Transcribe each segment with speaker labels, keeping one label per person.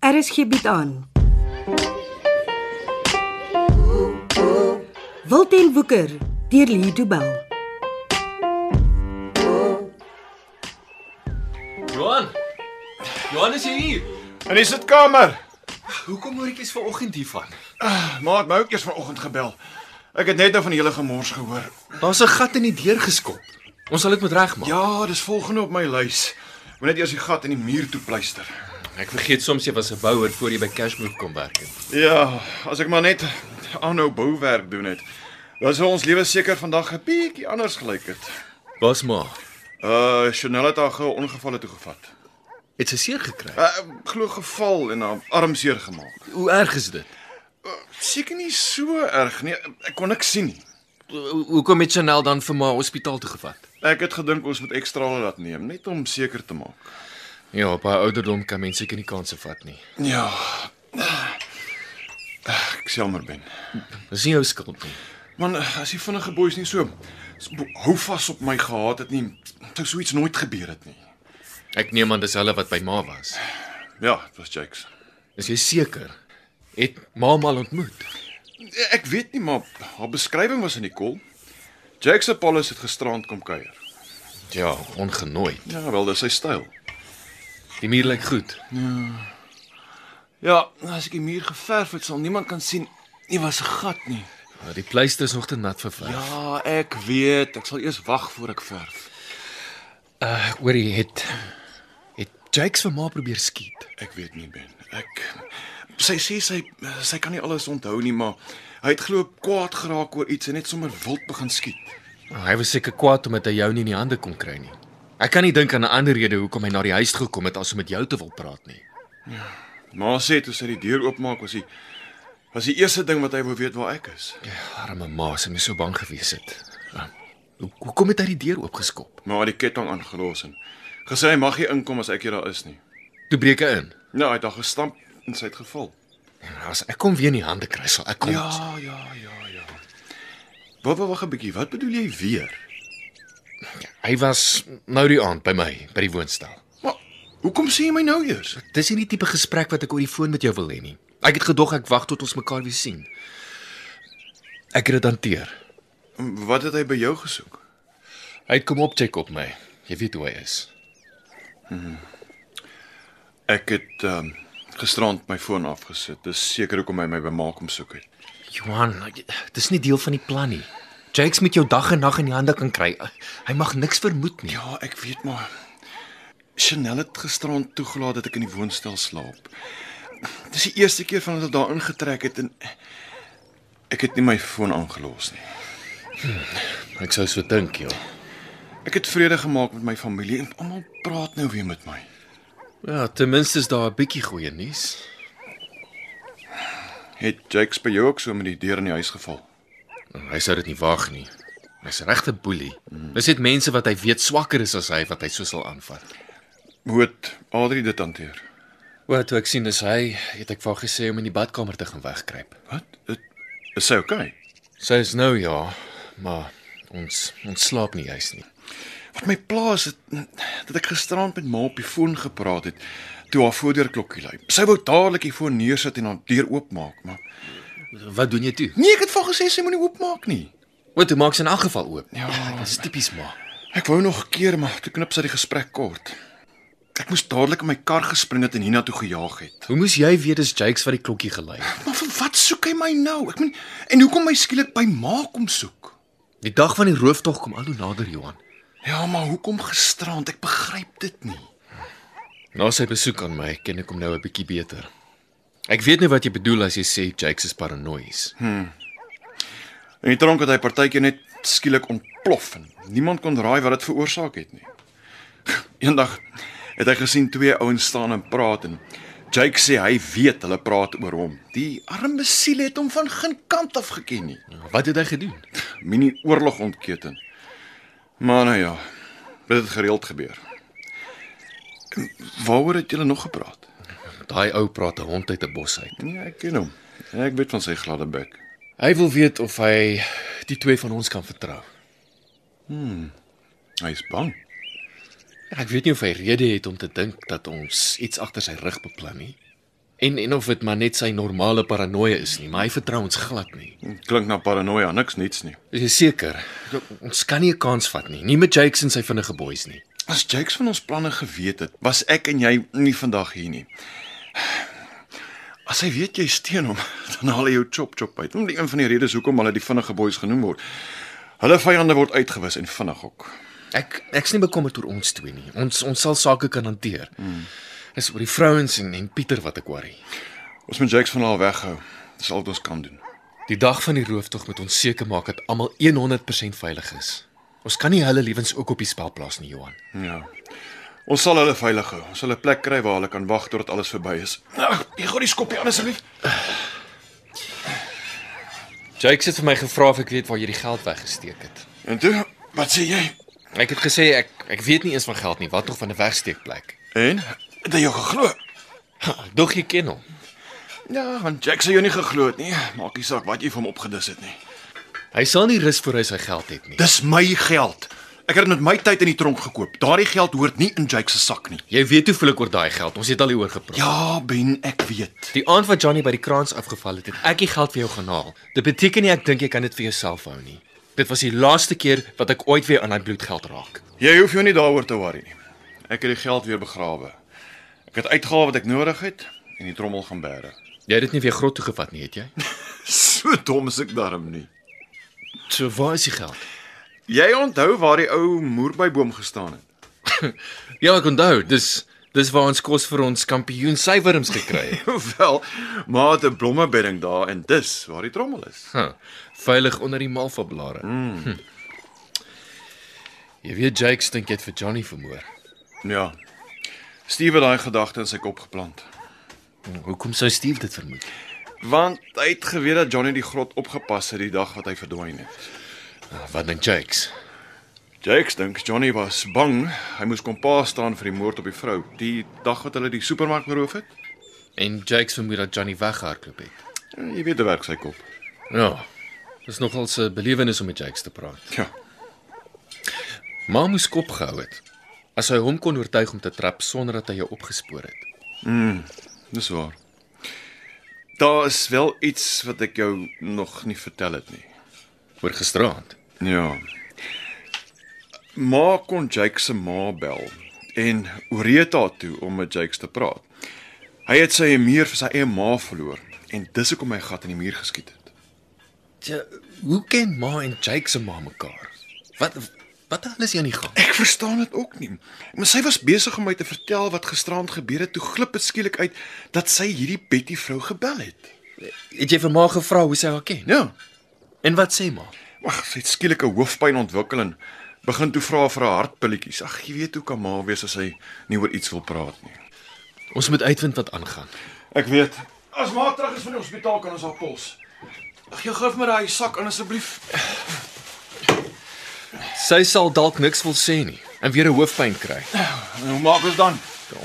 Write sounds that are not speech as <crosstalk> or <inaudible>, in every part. Speaker 1: RSG bied Er aan. Wilten Woeker deur Lee Du Bell.
Speaker 2: Johan. Johan is hier.
Speaker 3: In die sitkamer.
Speaker 2: Hoekom hoor ek eens vanoggend hiervan?
Speaker 3: Maat my ook eers vanoggend gebel. Ek het net nou van die hele gemors gehoor.
Speaker 2: Daar's 'n gat in die deur geskop. Ons sal dit moet regmaak.
Speaker 3: Ja, dis volgende op my lys. Moet net eers die gat in die muur toe pleister.
Speaker 2: Ek vergeet soms jy was 'n bouer voor jy by Cashmove kom werk het.
Speaker 3: Ja, as ek maar net aanhou bouwerk doen het. Dan sou ons lewe seker vandag 'n bietjie anders gelyk het.
Speaker 2: Was ma.
Speaker 3: Uh, Chanel het haar gou ongevalle toegevat.
Speaker 2: Het sy seer gekry?
Speaker 3: Uh, glo geval en haar arm seer gemaak.
Speaker 2: Hoe erg is dit?
Speaker 3: Seker nie so erg nie. Ek kon niks sien nie.
Speaker 2: Ho- Hoekom het Chanel dan vir ma hospitaal toe gevat?
Speaker 3: Ek het gedink ons moet ekstra laat neem net om seker te maak.
Speaker 2: Ja, op haar ouderdom kan mense seker nie kanse vat nie.
Speaker 3: Ja. Ek sal maar ben.
Speaker 2: Dis nie jou skuld nie.
Speaker 3: Man, as die vinnige boeis nie so so hou vas op my gehad het nie, sou so iets nooit gebeur het nie.
Speaker 2: Ek neem aan dis hulle wat by ma was.
Speaker 3: Ja, dit was Jakes.
Speaker 2: Is jy seker? Het ma hom al ontmoet?
Speaker 3: Ek weet nie, maar haar beskrywing was in die kol. Jakes se Paulus het gisterand kom kuier.
Speaker 2: Ja, ongenooi.
Speaker 3: Ja, wel, dis sy styl.
Speaker 2: Die muur lyk goed.
Speaker 3: Ja, as ek die muur geverf het, sal niemand kan sien nie was 'n gat nie.
Speaker 2: Maar Ah, die pleister is nog te nat vir verf.
Speaker 3: Ja, ek weet, ek sal eers wag voor ek verf.
Speaker 2: Uh, hoorie het het Jakes vir ma probeer skiet.
Speaker 3: Ek weet nie, Ben. Ek sy sê sy sy kan nie alles onthou nie, maar hy het glo kwaad geraak oor iets en net sommer wild begin skiet.
Speaker 2: Nou, hy was seker kwaad omdat hy jou nie in die hande kon kry nie. Ek kan nie dink aan 'n ander rede hoekom hy na die huis toe gekom het as om met jou te wil praat nie.
Speaker 3: Ma sê toe sy die deur oopmaak was die was die eerste ding wat hy wou weet waar ek is.
Speaker 2: Ja, Arme ma, sy moes so bang gewees het. Uh, hoe- Hoekom het hy die deur oopgeskop?
Speaker 3: Maar hy het die ketting aangelos en gesê hy mag nie inkom as ek hier daar is nie.
Speaker 2: Toe breek hy in.
Speaker 3: Nou, hy het daar gestamp en sy het geval.
Speaker 2: En As ek kom weer in die hande kry, sal ek kom.
Speaker 3: ja, ja, ja. Wat wat wag 'n bietjie. Wat bedoel jy weer?
Speaker 2: Hy was nou die aand by my by die woonstel.
Speaker 3: Maar hoekom sê jy my nou eers?
Speaker 2: Dis nie die tipe gesprek wat ek oor die foon met jou wil hê nie. Ek het gedog ek wag tot ons mekaar weer sien. Ek het dit hanteer.
Speaker 3: Wat het hy by jou gesoek?
Speaker 2: Hy het kom opcheck op my. Jy weet hoe hy is.
Speaker 3: Ek het ehm um, gisterand my foon afgesit. Dis seker hoekom hy my by ma kom soek het.
Speaker 2: Johan, dis nie deel van die plan nie. Jakes moet jou dag en nag in die hande kan kry. Hy mag niks vermoed nie.
Speaker 3: Ja, ek weet maar Chanel het gisterand toegelaat dat ek in die woonstel slaap. Dis die eerste keer vandat ek daar ingetrek het en ek het nie my foon aangelos nie.
Speaker 2: Ek sou so dink, ja.
Speaker 3: Ek het vrede gemaak met my familie en almal praat nou weer met my.
Speaker 2: Ja, ten minste is daar 'n bietjie goeie nuus.
Speaker 3: Het Jakes by jou ook so met die deur in die huis geval?
Speaker 2: Hy sou dit nie waag nie. Hy's regte boelie. Dis net mense wat hy weet swakker is as hy wat hy so sal aanvat.
Speaker 3: Hoe het Adri dit hanteer?
Speaker 2: Wat toe ek sien dis hy, het ek vir haar gesê om in die badkamer te gaan wegkruip.
Speaker 3: Wat? Het, is sy okay?
Speaker 2: Sy is nou ja, maar ons ons slaap nie juis nie.
Speaker 3: Wat my pla is dit dat ek gisterand met ma op die foon gepraat het toe haar voordeurklokkie lui. Sy wou dadelik die foon neersit en haar deur oopmaak, maar
Speaker 2: Wat doen jy toe?
Speaker 3: Nee, ek het vir haar gesê sy moenie oopmaak nie.
Speaker 2: Wat toe maak sy in elk geval oop?
Speaker 3: Ja.
Speaker 2: dis tipies maar.
Speaker 3: Ek wou nog 'n keer, maar toe knip sy die gesprek kort. Ek moes dadelik in my kar gespring het en Hina toe gejaag het.
Speaker 2: Hoe moes jy weet dis Jakes wat die klokkie gelei het?
Speaker 3: Maar vir wat soek hy my nou? Ek meen, en hoekom my skielik by ma kom soek?
Speaker 2: Die dag van die rooftog kom al hoe nader, Johan.
Speaker 3: Ja, maar hoekom gisterand? Ek begryp dit nie.
Speaker 2: Na sy besoek aan my ken ek hom nou 'n bietjie beter. Ek weet nie wat jy bedoel as jy sê Jakes is paranoïes. Hm.
Speaker 3: In die tronk het hy partytjie net skielik ontplof en niemand kon raai wat dit veroorsaak het nie. <laughs> Eendag het hy gesien twee ouens staan en praat en Jake sê hy weet hulle praat oor hom. Die arme siel het hom van geen kant af geken nie.
Speaker 2: Wat het hy gedoen?
Speaker 3: mini oorlog ontketen. Maar nou ja, dit het gereeld gebeur. Waaroor het julle nog gepraat?
Speaker 2: Daai ou praat 'n hond uit 'n bos uit.
Speaker 3: Nee, ek ken hom. Ek weet van sy gladde bek.
Speaker 2: Hy wil weet of hy die twee van ons kan vertrou.
Speaker 3: Hy's bang.
Speaker 2: Ja, Ek weet nie of hy rede het om te dink dat ons iets agter sy rug beplan nie. En en of dit maar net sy normale paranoia is nie, maar hy vertrou ons glad nie.
Speaker 3: Klink na paranoia, niks niets nie.
Speaker 2: Is jy seker? Ons kan nie 'n kans vat nie. Nie met Jakes en sy vinnige boeis nie.
Speaker 3: As Jakes van ons planne geweet het, was ek en jy nie vandag hier nie. As hy weet jy steen hom, <laughs> dan haal hy jou chop chop uit. Dit is een van die redes hoekom hulle die vinnige boeis genoem word. Hulle vyande word uitgewis en vinnig ook.
Speaker 2: Ek ek's nie bekommerd oor ons twee nie. Ons ons sal sake kan hanteer. Mm. Dis oor die vrouens en en Pieter wat ek worry.
Speaker 3: Ons moet Jakes van haar weghou. Dis al wat ons kan doen.
Speaker 2: Die dag van die rooftog moet ons seker maak dat almal 100% veilig is. Ons kan nie hulle lewens ook op die spel plaas nie, Johan.
Speaker 3: Ja. Ons sal hulle veilig hou. Ons sal 'n plek kry waar hulle kan wag totdat alles verby is. Ag, jy gooi die skoppie aan asseblief.
Speaker 2: Jakes het vir my gevra of ek weet waar jy die geld weggesteek het.
Speaker 3: En toe, wat sê jy?
Speaker 2: Ek het gesê ek ek weet nie eens van geld nie, wat nog van 'n wegsteekplek.
Speaker 3: En het hy jou geglo?
Speaker 2: Ek dog jy ken hom.
Speaker 3: Ja, want Jack sê jou nie geglo het nie. Maak nie saak wat jy vir hom opgedis het nie.
Speaker 2: Hy sal nie rus voor hy sy geld het nie.
Speaker 3: Dis my geld. Ek het dit met my tyd in die tronk gekoop. Daardie geld hoort nie in Jake se sak nie.
Speaker 2: Jy weet hoe veel ek oor daai geld. Ons het al hieroor gepraat.
Speaker 3: Ja, Ben, ek weet.
Speaker 2: Die aand wat Johnny by die kraans afgeval het, het ek die geld vir jou gaan haal. Dit beteken nie ek dink jy kan dit vir jouself hou nie. Dit was die laaste keer wat ek ooit weer aan daai bloedgeld raak.
Speaker 3: Jy hoef jou nie daaroor te worry nie. Ek het die geld weer begrawe. Ek het uitgehaal wat ek nodig het en die trommel gaan bære.
Speaker 2: Jy het dit nie weer grot toe gevat nie, het jy?
Speaker 3: So dom is ek darm nie.
Speaker 2: So waar is die geld?
Speaker 3: Jy onthou waar die ou moerbyboom gestaan <laughs> het?
Speaker 2: Ja, ek onthou, dis dis waar ons kos vir ons kampioen suiwerms gekry het.
Speaker 3: Wel, maar het 'n blommebedding daar en dis waar die trommel is.
Speaker 2: <laughs> Huh, veilig onder die malvablare. Mm. Hm. Jy weet Jakes dink jy het vir Johnny vermoor.
Speaker 3: Ja. Steve het daai gedagte in sy kop geplant.
Speaker 2: Hm, Hoekom sou Steve dit vermoed?
Speaker 3: Want hy het geweet dat Johnny die grot opgepas het die dag wat hy verdwyn het.
Speaker 2: Ah, Wat dink Jakes?
Speaker 3: Jakes dink Johnny was bang. Hy moes kom pa staan vir die moord op die vrou die dag wat hulle die supermark beroof het.
Speaker 2: En Jakes vermoed dat Johnny weghardloop het.
Speaker 3: ja, Jy weet hoe werk sy kop.
Speaker 2: Ja. Dis nogal 'n belewenis om met Jakes te praat.
Speaker 3: Ja.
Speaker 2: Ma moes kop gehou het as hy hom kon oortuig om te trap sonder dat hy jou opgespoor het.
Speaker 3: Dis waar. Daar is wel iets wat ek jou nog nie vertel het nie.
Speaker 2: Oor gisteraand.
Speaker 3: Ja. Ma kon Jake se ma bel en Oreta toe om met Jake te praat. Hy het sy muur vir sy eie ma verloor en dis hoekom hy gat in die muur geskiet het.
Speaker 2: Tja, hoe ken ma en Jakes se ma mekaar? Wat wat alles hier aan die gang?
Speaker 3: Ek verstaan dit ook nie. Maar sy was besig om my te vertel wat gisteraand gebeur het toe glip dit skielik uit dat sy hierdie Betty vrou gebel het.
Speaker 2: Het jy vir ma gevra hoe sy haar ken?
Speaker 3: Ja.
Speaker 2: En wat sê ma?
Speaker 3: Ag, sy het skielik 'n hoofpyn ontwikkel en begin toe vra vir haar hartpilletjies. Ag, jy weet hoe kan ma wees as sy nie oor iets wil praat nie.
Speaker 2: Ons moet uitvind wat aangaan.
Speaker 3: Ek weet. As ma terug is van die hospitaal kan ons haar pols. Ag, jy gee my daai sak aan asseblief.
Speaker 2: Sy sal dalk niks wil sê nie en weer 'n hoofpyn kry.
Speaker 3: En hoe maak ons dan?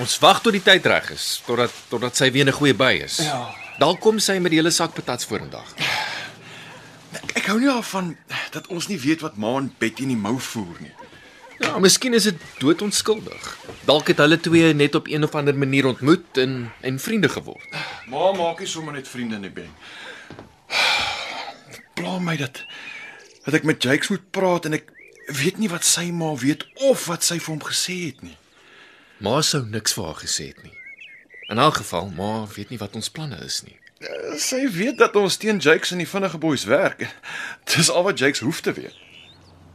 Speaker 2: Ons wag tot die tyd reg is, totdat totdat sy weer 'n goeie by is.
Speaker 3: Ja.
Speaker 2: Dan kom sy met die hele sak patats vorendag.
Speaker 3: Ek, ek hou nie daarvan dat ons nie weet wat ma en Betty in die mou voer nie.
Speaker 2: Ja, miskien is dit doodonskuldig. Dalk het hulle twee net op een of ander manier ontmoet en en vriende geword.
Speaker 3: Ma maak nie sommer net vriende nie, Ben. <sighs> Pla my dat dat ek met Jakes moet praat en ek weet nie wat sy ma weet of wat sy vir hom gesê het nie.
Speaker 2: Ma sou niks vir haar gesê het nie. In elk geval, ma weet nie wat ons planne is nie.
Speaker 3: Sy weet dat ons teen Jakes en die vinnige boeis werk. Dis al wat Jakes hoef te weet.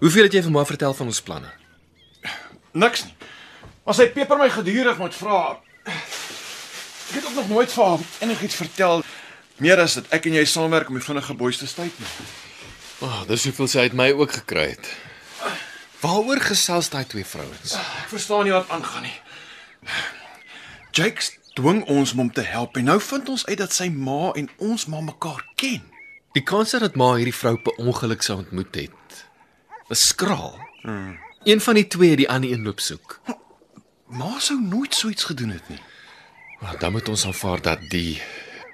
Speaker 2: Hoeveel het jy vir ma vertel van ons planne?
Speaker 3: Niks nie. Maar sy peper my gedurig met vrae. Ek het ook nog nooit vir haar enigiets vertel meer as dat ek en jy saamwerk om die vinnige boeis te staai nie.
Speaker 2: O, oh, dis hoeveel sy uit my ook gekry het. Waaroor gesels daai twee vrouens?
Speaker 3: Ek verstaan nie wat aangaan nie. Jakes dwing ons om hom te help en nou vind ons uit dat sy ma en ons ma mekaar ken.
Speaker 2: Die kans dat ma hierdie vrou per ongeluk sou ontmoet het, is skraal. Hmm. Een van die twee het die ander een loop soek.
Speaker 3: Ma sou nooit so iets gedoen het nie.
Speaker 2: Maar dan moet ons aanvaar dat die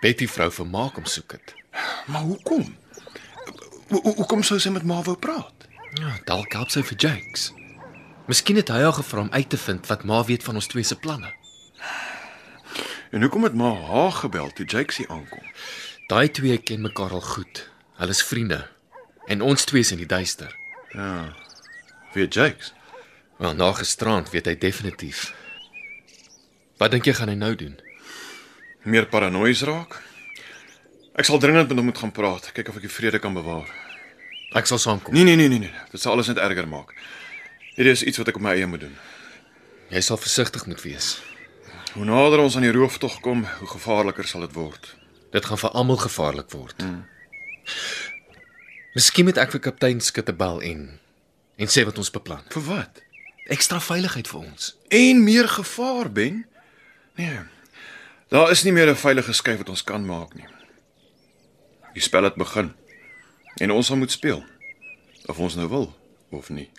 Speaker 2: Betty vrou vir ma kom soek het.
Speaker 3: Maar hoekom? Ho- ho- Hoekom sou sy met ma wou praat?
Speaker 2: Ja, dalk help sy vir Jakes. Miskien het hy haar gevra om uit te vind wat ma weet van ons twee se planne.
Speaker 3: En hoekom het ma haar gebel toe Jake sy aankom?
Speaker 2: Daai twee ken mekaar al goed. Hulle is vriende. En ons twee is in die duister.
Speaker 3: Vir Jake's.
Speaker 2: Wel, na gisterand weet hy definitief. Wat dink jy gaan hy nou doen?
Speaker 3: Meer paranoïes raak. Ek sal dringend met hom moet gaan praat, kyk of ek die vrede kan bewaar.
Speaker 2: Ek sal saamkom.
Speaker 3: Nee nee nee nee nee, dit sal alles net erger maak. Hierdie is iets wat ek op my eie moet doen.
Speaker 2: Jy sal versigtig moet wees.
Speaker 3: Hoe nader ons aan die rooftog kom, hoe gevaarliker sal dit word.
Speaker 2: Dit gaan vir almal gevaarlik word. Hmm. Miskien moet ek vir kaptein Skutte bel en en sê wat ons beplan.
Speaker 3: Vir wat?
Speaker 2: Ekstra veiligheid vir ons.
Speaker 3: En meer gevaar, Ben? Nee. Daar is nie meer 'n veilige skuif wat ons kan maak nie. Die spel het begin. En ons sal moet speel. Of ons nou wil of nie.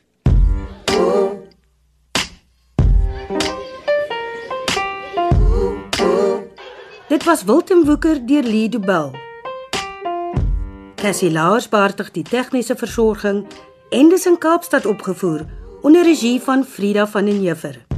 Speaker 1: Dit was Wilten Woeker deur Lido Bell. Cassie Lars beheerdig die tegniese versorging en dis in Kaapstad opgevoer onder regie van Frida van den Heever.